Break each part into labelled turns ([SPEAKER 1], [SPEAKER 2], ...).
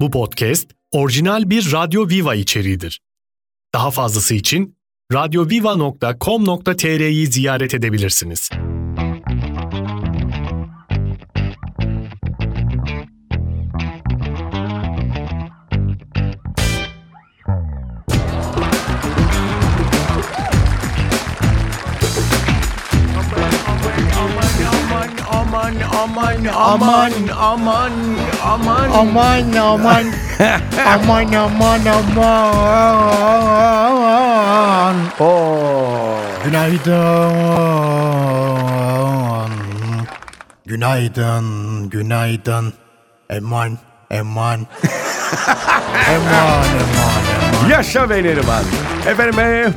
[SPEAKER 1] Bu podcast orijinal bir Radyo Viva içeriğidir. Daha fazlası için radyoviva.com.tr'yi ziyaret edebilirsiniz.
[SPEAKER 2] Aman aman aman aman aman
[SPEAKER 3] Aman
[SPEAKER 2] aman
[SPEAKER 3] aman aman aman aman.
[SPEAKER 2] Oh.
[SPEAKER 3] Oo. Günaydın. Günaydın, günaydın. Eman, eman. eman, eman, eman.
[SPEAKER 2] Yaşa be Neriman. Efendim e,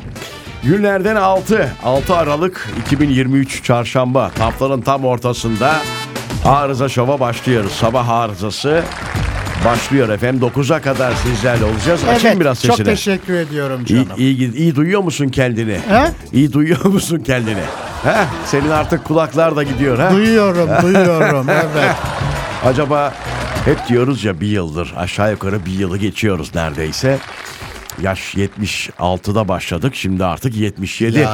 [SPEAKER 2] günlerden 6. 6 Aralık 2023 Çarşamba. Haftanın tam ortasında Arıza Şov'a başlıyoruz. Sabah arızası başlıyor efendim. 9'a kadar sizlerle olacağız. Açın
[SPEAKER 3] Evet,
[SPEAKER 2] biraz sesini.
[SPEAKER 3] çok teşekkür ediyorum
[SPEAKER 2] İyi,
[SPEAKER 3] canım.
[SPEAKER 2] iyi, gid- iyi duyuyor musun kendini?
[SPEAKER 3] He?
[SPEAKER 2] İyi duyuyor musun kendini? He? Senin artık kulaklar da gidiyor ha?
[SPEAKER 3] Duyuyorum, duyuyorum. Evet.
[SPEAKER 2] Acaba hep diyoruz ya bir yıldır aşağı yukarı bir yılı geçiyoruz neredeyse. Yaş 76'da başladık şimdi artık 77. Ee,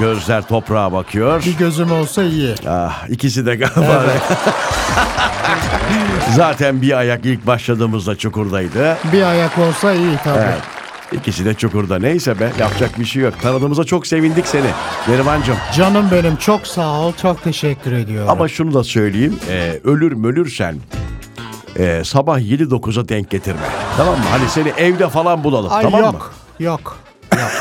[SPEAKER 2] gözler toprağa bakıyor.
[SPEAKER 3] Bir gözüm olsa iyi.
[SPEAKER 2] Ah, ikisi de galiba. Zaten bir ayak ilk başladığımızda çukurdaydı.
[SPEAKER 3] Bir ayak olsa iyi tabii.
[SPEAKER 2] Evet. İkisi de çukurda. Neyse be yapacak bir şey yok. Tanıdığımıza çok sevindik seni. Nerimancığım.
[SPEAKER 3] Canım benim çok sağ ol, çok teşekkür ediyorum.
[SPEAKER 2] Ama şunu da söyleyeyim. e, ölür mölürsen e, sabah 7-9'a denk getirme. Tamam mı? Hani seni evde falan bulalım.
[SPEAKER 3] Ay
[SPEAKER 2] tamam
[SPEAKER 3] yok,
[SPEAKER 2] mı?
[SPEAKER 3] yok, yok.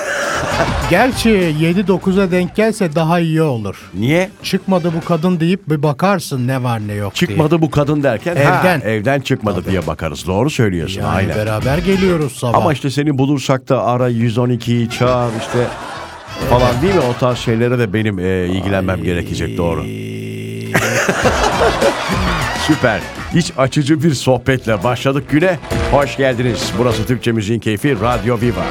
[SPEAKER 3] Gerçi 7-9'a denk gelse daha iyi olur.
[SPEAKER 2] Niye?
[SPEAKER 3] Çıkmadı bu kadın deyip bir bakarsın ne var ne yok diye.
[SPEAKER 2] Çıkmadı bu kadın derken ha,
[SPEAKER 3] Evden.
[SPEAKER 2] evden çıkmadı diye bakarız. Doğru söylüyorsun.
[SPEAKER 3] Yani
[SPEAKER 2] aynen.
[SPEAKER 3] Hani beraber geliyoruz sabah.
[SPEAKER 2] Ama işte seni bulursak da ara 112'yi çağır işte falan değil mi? O tarz şeylere de benim e, ilgilenmem gerekecek doğru. Süper. İç açıcı bir sohbetle başladık güne. Hoş geldiniz. Burası Türkçe Müziğin Keyfi Radyo Viva.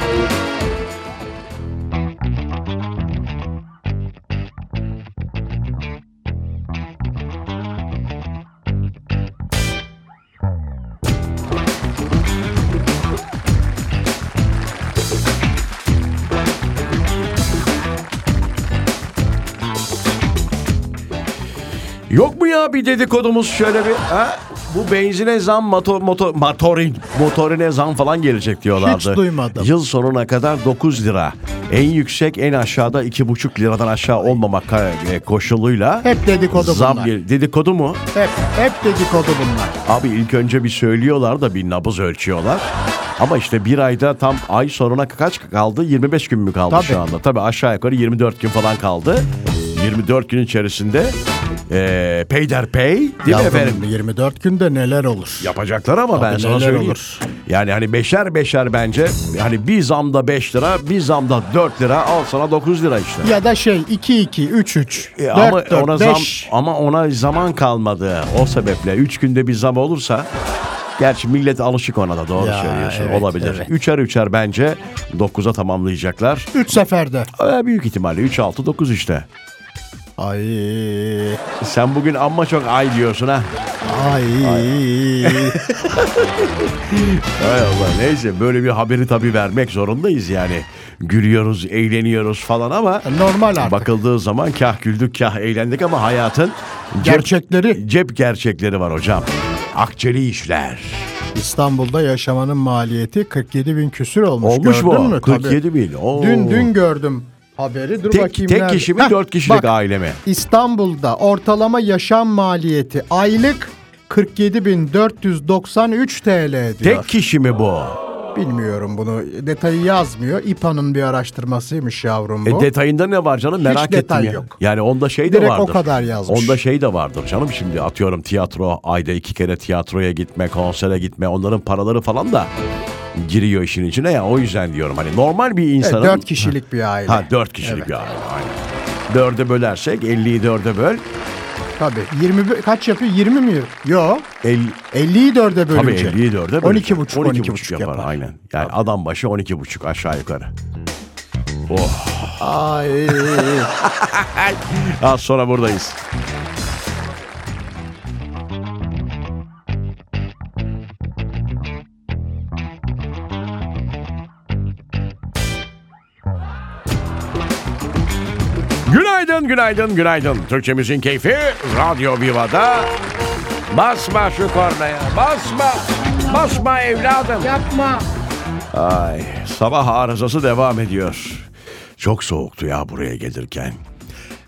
[SPEAKER 2] Yok mu ya bir dedikodumuz şöyle bir ha? Bu benzine zam motor, motor, motorin, motorine zam falan gelecek diyorlardı.
[SPEAKER 3] Hiç duymadım.
[SPEAKER 2] Yıl sonuna kadar 9 lira. En yüksek en aşağıda 2,5 liradan aşağı olmamak ka- e, koşuluyla.
[SPEAKER 3] Hep dedikodu
[SPEAKER 2] zam
[SPEAKER 3] bunlar.
[SPEAKER 2] gel- Dedikodu mu?
[SPEAKER 3] Hep, hep dedikodu bunlar.
[SPEAKER 2] Abi ilk önce bir söylüyorlar da bir nabız ölçüyorlar. Ama işte bir ayda tam ay sonuna kaç kaldı? 25 gün mü kaldı
[SPEAKER 3] Tabii.
[SPEAKER 2] şu anda? Tabii aşağı yukarı 24 gün falan kaldı. 24 gün içerisinde eee peyderpey değil mi
[SPEAKER 3] Yavrum,
[SPEAKER 2] efendim?
[SPEAKER 3] 24 günde neler olur?
[SPEAKER 2] Yapacaklar ama ben
[SPEAKER 3] Tabii,
[SPEAKER 2] sana
[SPEAKER 3] neler
[SPEAKER 2] söyleyeyim.
[SPEAKER 3] olur.
[SPEAKER 2] Yani hani beşer beşer bence hani bir zamda 5 lira bir zamda 4 lira al sana 9 lira işte.
[SPEAKER 3] Ya da şey 2-2, 3-3,
[SPEAKER 2] E,
[SPEAKER 3] 4-4,
[SPEAKER 2] ama ona zam
[SPEAKER 3] 5.
[SPEAKER 2] ama ona zaman kalmadı. O sebeple 3 günde bir zam olursa Gerçi millet alışık ona da doğru
[SPEAKER 3] Ya,
[SPEAKER 2] söylüyorsun.
[SPEAKER 3] evet,
[SPEAKER 2] Olabilir.
[SPEAKER 3] evet.
[SPEAKER 2] Üçer üçer bence 9'a tamamlayacaklar.
[SPEAKER 3] 3 seferde.
[SPEAKER 2] Ee, büyük ihtimalle 3 6 9 işte.
[SPEAKER 3] Ay,
[SPEAKER 2] Sen bugün amma çok ay diyorsun ha.
[SPEAKER 3] ay.
[SPEAKER 2] Hay Allah neyse böyle bir haberi tabii vermek zorundayız yani. Gülüyoruz, eğleniyoruz falan ama
[SPEAKER 3] Normal artık.
[SPEAKER 2] bakıldığı zaman kah güldük kah eğlendik ama hayatın cep-
[SPEAKER 3] Gerçekleri.
[SPEAKER 2] cep gerçekleri var hocam. Akçeli işler.
[SPEAKER 3] İstanbul'da yaşamanın maliyeti 47 bin küsür olmuş.
[SPEAKER 2] Olmuş
[SPEAKER 3] Gördün
[SPEAKER 2] mu?
[SPEAKER 3] mü?
[SPEAKER 2] 47
[SPEAKER 3] Tabii.
[SPEAKER 2] bin. Oo.
[SPEAKER 3] Dün dün gördüm haberi. Dur
[SPEAKER 2] Tek,
[SPEAKER 3] bakayım.
[SPEAKER 2] tek
[SPEAKER 3] nerede?
[SPEAKER 2] kişi mi
[SPEAKER 3] Hah,
[SPEAKER 2] 4 kişilik
[SPEAKER 3] bak,
[SPEAKER 2] aile mi?
[SPEAKER 3] İstanbul'da ortalama yaşam maliyeti aylık 47.493 TL diyor.
[SPEAKER 2] Tek kişi mi bu?
[SPEAKER 3] Bilmiyorum bunu detayı yazmıyor. İPA'nın bir araştırmasıymış yavrum
[SPEAKER 2] E
[SPEAKER 3] bu.
[SPEAKER 2] detayında ne var canım merak ettim
[SPEAKER 3] detay
[SPEAKER 2] ya.
[SPEAKER 3] yok.
[SPEAKER 2] Yani onda şey de
[SPEAKER 3] Direkt o
[SPEAKER 2] vardır.
[SPEAKER 3] kadar yazmış.
[SPEAKER 2] Onda şey de vardır canım şimdi atıyorum tiyatro ayda iki kere tiyatroya gitme konsere gitme onların paraları falan da giriyor işin içine ya o yüzden diyorum hani normal
[SPEAKER 3] E,
[SPEAKER 2] bir insanın.
[SPEAKER 3] 4 kişilik bir aile.
[SPEAKER 2] Ha dört kişilik bir aile aynen. Dörde bölersek 50'yi dörde böl.
[SPEAKER 3] Tabii. 20 bi- kaç yapıyor? 20 mi? Yok.
[SPEAKER 2] 50,
[SPEAKER 3] 50'yi 4'e
[SPEAKER 2] Tabii
[SPEAKER 3] bölünce.
[SPEAKER 2] 50'yi 4'e
[SPEAKER 3] 12 buçuk 12, buçuk
[SPEAKER 2] yapar.
[SPEAKER 3] yapar.
[SPEAKER 2] Aynen. Yani adam başı 12 buçuk aşağı yukarı. Oh.
[SPEAKER 3] Ay.
[SPEAKER 2] Az sonra buradayız. günaydın, günaydın. Türkçemizin keyfi Radyo Viva'da. Basma şu kornaya, basma. Basma evladım.
[SPEAKER 3] Yapma.
[SPEAKER 2] Ay, sabah arızası devam ediyor. Çok soğuktu ya buraya gelirken.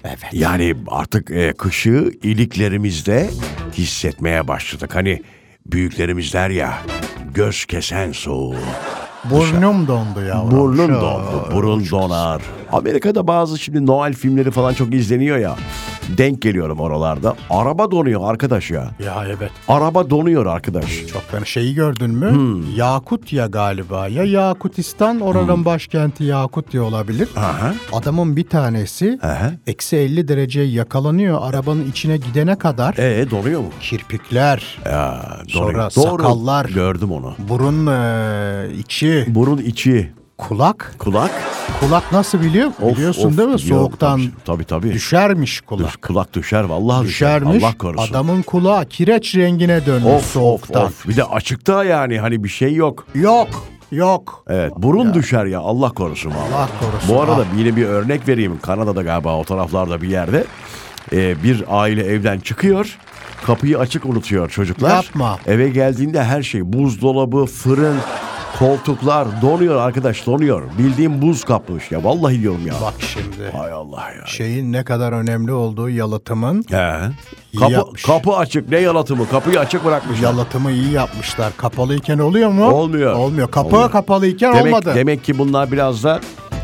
[SPEAKER 2] Evet. Yani artık e, kışı iliklerimizde hissetmeye başladık. Hani büyüklerimiz der ya, göz kesen soğuğu.
[SPEAKER 3] Burnum dondu yavrum.
[SPEAKER 2] Burnun
[SPEAKER 3] Şu-
[SPEAKER 2] dondu, burun donar. Amerika'da bazı şimdi Noel filmleri falan çok izleniyor ya. Denk geliyorum oralarda. Araba donuyor arkadaş ya.
[SPEAKER 3] Ya evet.
[SPEAKER 2] Araba donuyor arkadaş.
[SPEAKER 3] Çok ben şeyi gördün mü?
[SPEAKER 2] Hmm.
[SPEAKER 3] Yakutya galiba. Ya Yakutistan oranın başkenti Yakutya olabilir.
[SPEAKER 2] Aha.
[SPEAKER 3] Adamın bir tanesi
[SPEAKER 2] Aha.
[SPEAKER 3] eksi 50 dereceye yakalanıyor arabanın içine gidene kadar.
[SPEAKER 2] E donuyor mu?
[SPEAKER 3] Kirpikler,
[SPEAKER 2] Ya,
[SPEAKER 3] Sonra sakallar.
[SPEAKER 2] Gördüm onu.
[SPEAKER 3] burun eee, içi,
[SPEAKER 2] Burun içi,
[SPEAKER 3] kulak.
[SPEAKER 2] kulak.
[SPEAKER 3] Kulak nasıl biliyor?
[SPEAKER 2] Of,
[SPEAKER 3] Biliyorsun
[SPEAKER 2] of,
[SPEAKER 3] değil mi?
[SPEAKER 2] biliyorum.
[SPEAKER 3] Soğuktan
[SPEAKER 2] Tabii tabii.
[SPEAKER 3] düşermiş kulak.
[SPEAKER 2] Düş- kulak düşer vallahi düşer.
[SPEAKER 3] Düşermiş.
[SPEAKER 2] Allah korusun.
[SPEAKER 3] Adamın kulağı kireç rengine dönmüş
[SPEAKER 2] of of
[SPEAKER 3] soğuktan.
[SPEAKER 2] of. Bir de açıkta yani hani bir şey yok.
[SPEAKER 3] Yok, yok.
[SPEAKER 2] Evet burun düşer ya Allah korusun vallahi.
[SPEAKER 3] Allah korusun. Ah.
[SPEAKER 2] Bu arada yine bir örnek vereyim. Kanada'da galiba o taraflarda bir yerde e, bir aile evden çıkıyor. Kapıyı açık unutuyor çocuklar.
[SPEAKER 3] Yapma.
[SPEAKER 2] Eve geldiğinde her şey buzdolabı, fırın, koltuklar donuyor arkadaş donuyor. Bildiğim buz kapmış ya vallahi diyorum ya.
[SPEAKER 3] Ah, Bak şimdi.
[SPEAKER 2] Hay Allah ya.
[SPEAKER 3] Şeyin ne kadar önemli olduğu yalıtımın.
[SPEAKER 2] He.
[SPEAKER 3] İyi
[SPEAKER 2] Kapı,
[SPEAKER 3] yapmış.
[SPEAKER 2] kapı açık ne yalatımı kapıyı açık bırakmış.
[SPEAKER 3] Yalıtımı iyi yapmışlar. Kapalıyken oluyor mu?
[SPEAKER 2] Olmuyor.
[SPEAKER 3] Olmuyor. Kapı
[SPEAKER 2] Olmuyor.
[SPEAKER 3] kapalıyken
[SPEAKER 2] Demek,
[SPEAKER 3] olmadı.
[SPEAKER 2] demek ki bunlar biraz da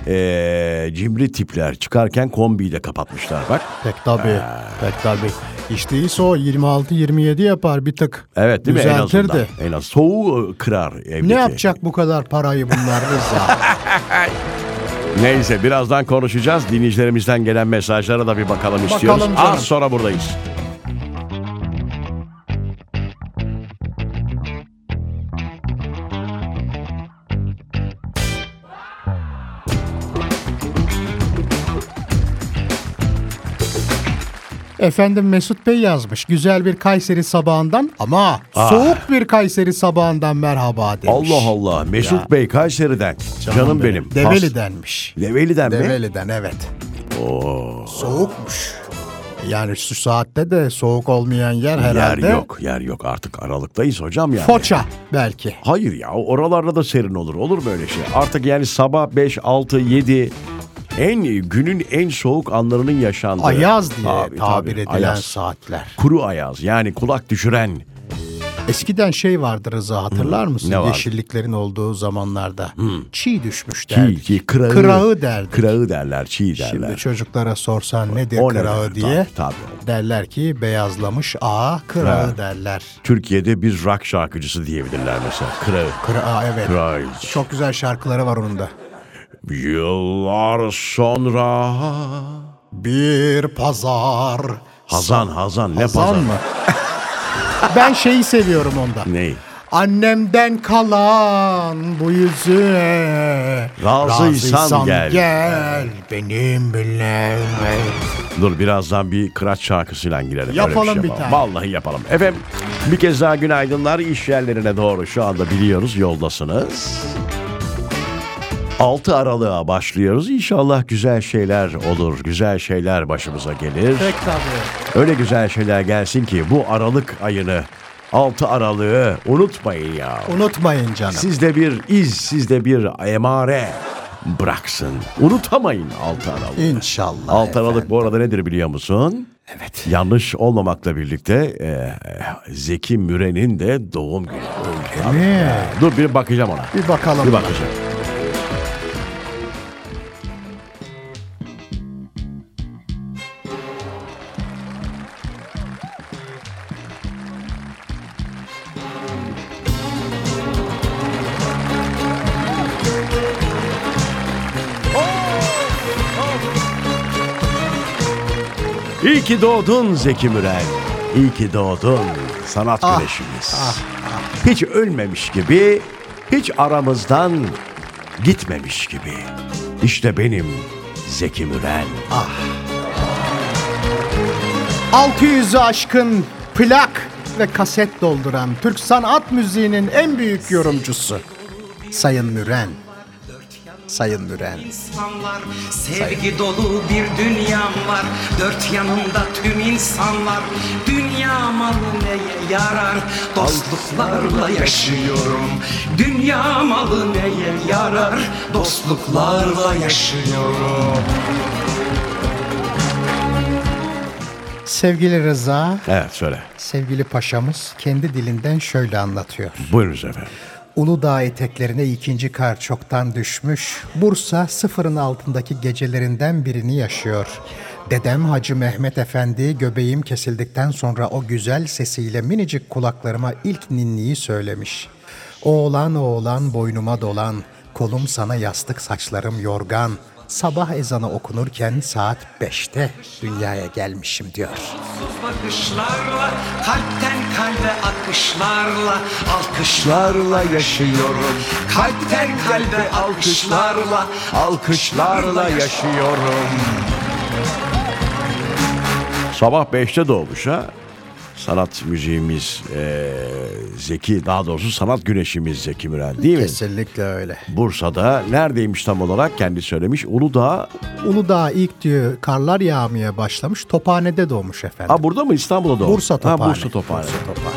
[SPEAKER 2] e, cimri tipler çıkarken kombiyi de kapatmışlar bak.
[SPEAKER 3] Pek tabii. Pek tabii. İş değilse o 26-27 yapar bir tık.
[SPEAKER 2] Evet değil mi en
[SPEAKER 3] Düzeltirdi.
[SPEAKER 2] azından. En az soğuğu e, kırar evdeki.
[SPEAKER 3] Ne yapacak bu kadar parayı bunlar Rıza?
[SPEAKER 2] Neyse birazdan konuşacağız. Dinleyicilerimizden gelen mesajlara da bir bakalım istiyoruz.
[SPEAKER 3] canım.
[SPEAKER 2] Az sonra buradayız.
[SPEAKER 3] Efendim Mesut Bey yazmış. Güzel bir Kayseri sabahından ama soğuk bir Kayseri sabahından merhaba demiş.
[SPEAKER 2] Ah. Allah Allah. Mesut
[SPEAKER 3] Ya.
[SPEAKER 2] Bey Kayseri'den. Canım, benim. Pas-
[SPEAKER 3] Develi'denmiş.
[SPEAKER 2] Develi'den mi?
[SPEAKER 3] Develi'den evet. Soğukmuş. Yani şu saatte de soğuk olmayan yer herhalde.
[SPEAKER 2] Yer yok. Yer yok. Artık aralıktayız hocam yani.
[SPEAKER 3] Foça belki.
[SPEAKER 2] Hayır ya oralarda da serin olur. Olur mu öyle şey? Artık yani sabah 5, 6, 7 en günün en soğuk anlarının yaşandığı.
[SPEAKER 3] Ayaz diye
[SPEAKER 2] Tabii,
[SPEAKER 3] tabir
[SPEAKER 2] tabii,
[SPEAKER 3] edilen
[SPEAKER 2] ayaz.
[SPEAKER 3] saatler.
[SPEAKER 2] Kuru ayaz yani kulak düşüren
[SPEAKER 3] Eskiden şey vardı Rıza hatırlar mısın?
[SPEAKER 2] ne vardı?
[SPEAKER 3] Yeşilliklerin olduğu zamanlarda. Çiğ düşmüş
[SPEAKER 2] Çiğ,
[SPEAKER 3] derdik.
[SPEAKER 2] çiğ, kırağı,
[SPEAKER 3] Kırağı derdik.
[SPEAKER 2] Kırağı derler, çiğ derler.
[SPEAKER 3] Şimdi çocuklara sorsan nedir
[SPEAKER 2] O ne
[SPEAKER 3] kırağı
[SPEAKER 2] demek?
[SPEAKER 3] diye
[SPEAKER 2] Tabii, tabii.
[SPEAKER 3] derler ki beyazlamış ağa kırağı derler.
[SPEAKER 2] Türkiye'de bir rock şarkıcısı diyebilirler mesela. Kırağı.
[SPEAKER 3] Kırağı evet.
[SPEAKER 2] Kırağı.
[SPEAKER 3] Çok güzel şarkıları var onun da.
[SPEAKER 2] Yıllar sonra.
[SPEAKER 3] Bir pazar.
[SPEAKER 2] Hazan, hazan. Ne
[SPEAKER 3] Hazan
[SPEAKER 2] pazar?
[SPEAKER 3] mı? ben şeyi seviyorum onda.
[SPEAKER 2] Ney?
[SPEAKER 3] Annemden kalan bu yüzüğe
[SPEAKER 2] Razıysan gel.
[SPEAKER 3] gel benim bileme.
[SPEAKER 2] Dur birazdan bir kıraç şarkısıyla girelim. Öyle
[SPEAKER 3] Yapalım
[SPEAKER 2] şey
[SPEAKER 3] bir
[SPEAKER 2] yapalım.
[SPEAKER 3] tane.
[SPEAKER 2] Vallahi yapalım. Efendim bir kez daha günaydınlar. İş yerlerine doğru şu anda biliyoruz yoldasınız. 6 Aralık'a başlıyoruz. İnşallah güzel şeyler olur. Güzel şeyler başımıza gelir.
[SPEAKER 3] Pek tabii.
[SPEAKER 2] Öyle güzel şeyler gelsin ki bu Aralık ayını 6 Aralık'ı unutmayın ya.
[SPEAKER 3] Unutmayın canım.
[SPEAKER 2] Sizde bir iz, sizde bir emare bıraksın. Unutamayın 6 Aralık.
[SPEAKER 3] İnşallah.
[SPEAKER 2] 6 Aralık bu arada nedir biliyor musun? Evet. Yanlış olmamakla birlikte e, Zeki Müren'in de doğum günü.
[SPEAKER 3] mi?
[SPEAKER 2] Dur bir bakacağım ona.
[SPEAKER 3] Bir bakalım.
[SPEAKER 2] Bir bakacağım. İyi ki doğdun Zeki Müren. İyi ki doğdun sanat güneşimiz. Hiç ölmemiş gibi, hiç aramızdan gitmemiş gibi. İşte benim Zeki Müren.
[SPEAKER 3] 600'ü aşkın plak ve kaset dolduran Türk sanat müziğinin en büyük yorumcusu Sayın Müren. Sayın Müren.
[SPEAKER 4] insanlar Sevgi dolu bir dünyam var Dört yanımda tüm insanlar Dünya malı neye yarar Dostluklarla yaşıyorum Dünya malı neye yarar Dostluklarla yaşıyorum
[SPEAKER 3] Sevgili Rıza,
[SPEAKER 2] Evet söyle.
[SPEAKER 3] sevgili paşamız kendi dilinden şöyle anlatıyor.
[SPEAKER 2] Buyurunuz efendim.
[SPEAKER 3] Uludağ eteklerine ikinci kar çoktan düşmüş. Bursa sıfırın altındaki gecelerinden birini yaşıyor. Dedem Hacı Mehmet Efendi göbeğim kesildikten sonra o güzel sesiyle minicik kulaklarıma ilk ninniyi söylemiş. Oğlan oğlan boynuma dolan, kolum sana yastık saçlarım yorgan. Sabah ezanı okunurken saat 5'te dünyaya gelmişim diyor.
[SPEAKER 4] Sonsuz bakışlarla Kalpten kalbe akışlarla Alkışlarla yaşıyorum Kalpten kalbe alkışlarla Alkışlarla yaşıyorum
[SPEAKER 2] Sabah 5'te doğmuş ha. Sanat müziğimiz eee, Zeki, daha doğrusu sanat güneşimiz Zeki Müren değil mi?
[SPEAKER 3] Kesinlikle öyle.
[SPEAKER 2] Bursa'da neredeymiş tam olarak kendi söylemiş. Uludağ.
[SPEAKER 3] Uludağ ilk diyor karlar yağmaya başlamış. Tophane'de doğmuş efendim.
[SPEAKER 2] Ha burada mı İstanbul'da doğmuş?
[SPEAKER 3] Bursa
[SPEAKER 2] Ha,
[SPEAKER 3] Tophane.
[SPEAKER 2] Bursa Tophane.
[SPEAKER 3] Bursa Tophane.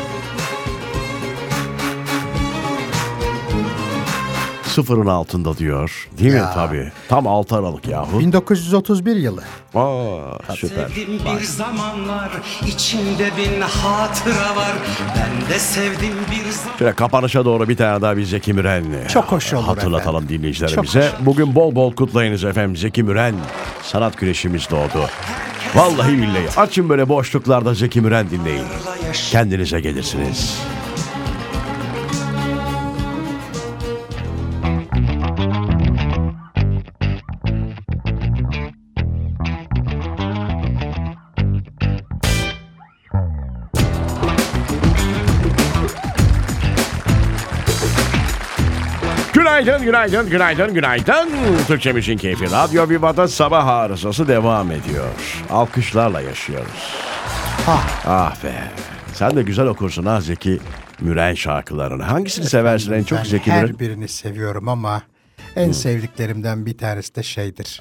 [SPEAKER 2] Sıfırın altında diyor. Değil mi?
[SPEAKER 3] Ya.
[SPEAKER 2] Tabii. Tam 6 Aralık yahu.
[SPEAKER 3] 1931 yılı.
[SPEAKER 2] Aa, süper.
[SPEAKER 4] Sevdim bir zamanlar içimde bin hatıra var Ben de sevdim bir zaman
[SPEAKER 2] Şöyle kapanışa doğru bir tane daha bir Zeki Müren.
[SPEAKER 3] Çok hoş olur
[SPEAKER 2] Hatırlatalım
[SPEAKER 3] efendim.
[SPEAKER 2] dinleyicilerimize.
[SPEAKER 3] Çok hoş
[SPEAKER 2] Bugün bol bol kutlayınız efendim. Zeki Müren sanat güneşimiz doğdu. Vallahi billahi açın böyle boşluklarda Zeki Müren dinleyin. Kendinize gelirsiniz. Günaydın, günaydın, günaydın, günaydın. Türkçemizin keyfi Radyo Viva'da sabah arızası devam ediyor. Alkışlarla yaşıyoruz.
[SPEAKER 3] Ah,
[SPEAKER 2] Ah be. Sen de güzel okursun ha Zeki Müren şarkılarını. Hangisini seversin en çok
[SPEAKER 3] ben
[SPEAKER 2] Zeki
[SPEAKER 3] her
[SPEAKER 2] Müren?
[SPEAKER 3] birini seviyorum ama en sevdiklerimden bir tanesi de şeydir.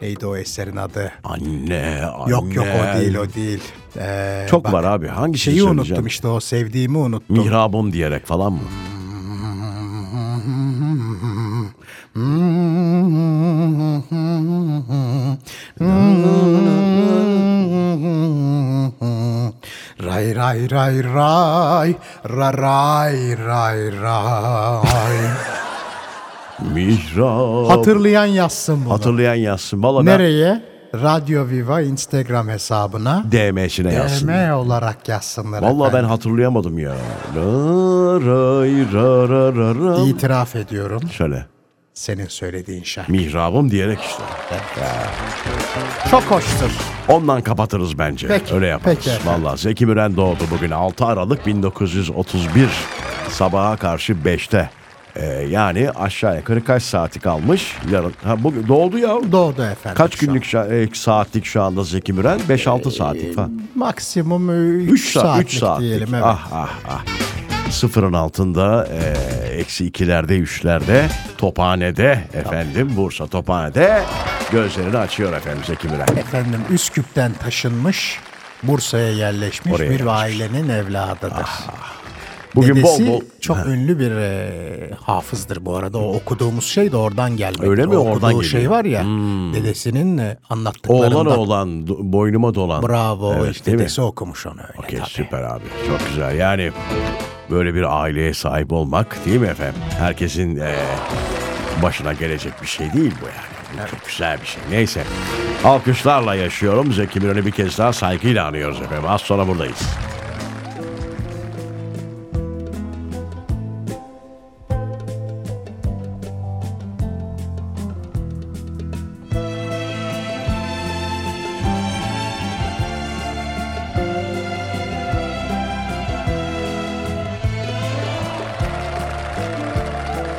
[SPEAKER 3] Neydi o eserin adı?
[SPEAKER 2] Anne, anne.
[SPEAKER 3] Yok yok o değil o değil. Ee,
[SPEAKER 2] Çok
[SPEAKER 3] bak,
[SPEAKER 2] var abi. Hangisini
[SPEAKER 3] Şeyi
[SPEAKER 2] söyleyeceğim?
[SPEAKER 3] unuttum işte o sevdiğimi unuttum.
[SPEAKER 2] Mihrabım diyerek falan mı?
[SPEAKER 3] Ray ray ray ray ra ray ray ray.
[SPEAKER 2] Mihrab.
[SPEAKER 3] Hatırlayan yazsın bunu.
[SPEAKER 2] Hatırlayan yazsın. Valla ben
[SPEAKER 3] Nereye? Radyo Viva Instagram hesabına
[SPEAKER 2] DM'sine yazsın.
[SPEAKER 3] DM olarak yazsınlar.
[SPEAKER 2] Valla ben
[SPEAKER 3] efendim.
[SPEAKER 2] hatırlayamadım ya. Ra, ray, ra, ra, ra, ra.
[SPEAKER 3] itiraf ediyorum.
[SPEAKER 2] Şöyle.
[SPEAKER 3] Senin söylediğin şarkı.
[SPEAKER 2] Mihrabım diyerek işte.
[SPEAKER 3] Çok hoştur.
[SPEAKER 2] Ondan kapatırız bence.
[SPEAKER 3] Peki,
[SPEAKER 2] Öyle yaparız.
[SPEAKER 3] peki efendim.
[SPEAKER 2] Valla Zeki Müren doğdu bugün 6 Aralık 1931 sabaha karşı 5'te. Ee, yani aşağı yukarı kaç saati kalmış? Yarın. Ha, bugün doğdu ya.
[SPEAKER 3] Doğdu efendim.
[SPEAKER 2] Kaç
[SPEAKER 3] şu an.
[SPEAKER 2] günlük şa- e, saatlik şu anda Zeki Müren? 5-6 saatlik falan.
[SPEAKER 3] Maksimum 3
[SPEAKER 2] 3 saat,
[SPEAKER 3] Ee, saatlik,
[SPEAKER 2] üç saatlik.
[SPEAKER 3] diyelim. Evet.
[SPEAKER 2] Ah ah ah. Sıfırın altında, e, eksi ikilerde, üçlerde, tophanede efendim, Bursa tophanede gözlerini açıyor efendim Zeki Müren.
[SPEAKER 3] Efendim Üsküp'ten taşınmış, Bursa'ya yerleşmiş
[SPEAKER 2] Oraya
[SPEAKER 3] bir
[SPEAKER 2] yerleşmiş. Ah.
[SPEAKER 3] ailenin evladıdır.
[SPEAKER 2] Bugün
[SPEAKER 3] Dedesi
[SPEAKER 2] bol bol
[SPEAKER 3] çok ünlü bir e, hafızdır bu arada. O okuduğumuz şey de oradan gelmektir.
[SPEAKER 2] Öyle mi?
[SPEAKER 3] O
[SPEAKER 2] Oradan
[SPEAKER 3] okuduğu şey
[SPEAKER 2] geliyor. Hmm.
[SPEAKER 3] var ya, dedesinin e, anlattıklarından.
[SPEAKER 2] Oğlan oğlan do- boynuma dolan.
[SPEAKER 3] Bravo,
[SPEAKER 2] Evet,
[SPEAKER 3] işte
[SPEAKER 2] değil mi?
[SPEAKER 3] dedesi okumuş onu öyle
[SPEAKER 2] Okey,
[SPEAKER 3] tabii.
[SPEAKER 2] süper abi. Çok güzel. Yani böyle bir aileye sahip olmak değil mi efendim? Herkesin eee, başına gelecek bir şey değil bu yani. Bu Çok güzel bir şey. Neyse. Alkışlarla yaşıyorum. Zeki Müren'i bir kez daha saygıyla anıyoruz efendim. Az sonra buradayız.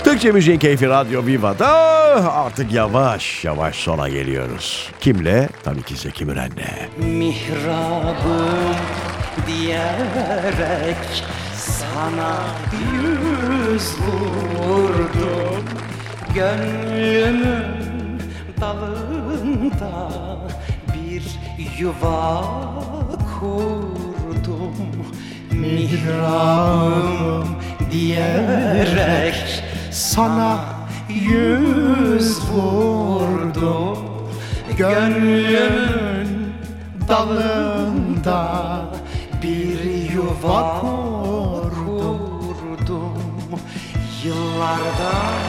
[SPEAKER 2] Türkçe Müziğin Keyfi Radyo Viva'da artık yavaş yavaş sona geliyoruz. Kimle? Tabii ki Zeki Müren'le.
[SPEAKER 4] Mihrabım diyerek sana bir yüz vurdum Gönlümün dalında bir yuva kurdum Mihrabım diyerek sana yüz vurdum Gönlümün dalında bir yuva kurdum Yıllardan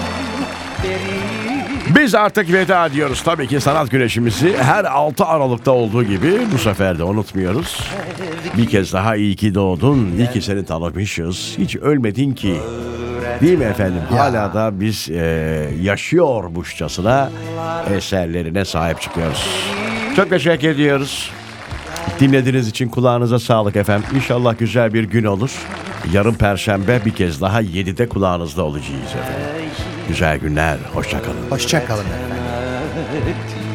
[SPEAKER 4] beri
[SPEAKER 2] Biz artık veda ediyoruz tabii ki sanat güneşimizi her 6 Aralık'ta olduğu gibi bu sefer de unutmuyoruz. Bir kez daha iyi ki doğdun, iyi ki seni tanımışız, hiç ölmedin ki. Değil mi efendim? Hala da biz e, yaşıyormuşçasına eserlerine sahip çıkıyoruz. Çok teşekkür ediyoruz. Dinlediğiniz için kulağınıza sağlık efendim. İnşallah güzel bir gün olur. Yarın perşembe bir kez daha 7'de kulağınızda olacağız efendim. Güzel günler, hoşçakalın.
[SPEAKER 3] Hoşçakalın efendim.
[SPEAKER 4] ettim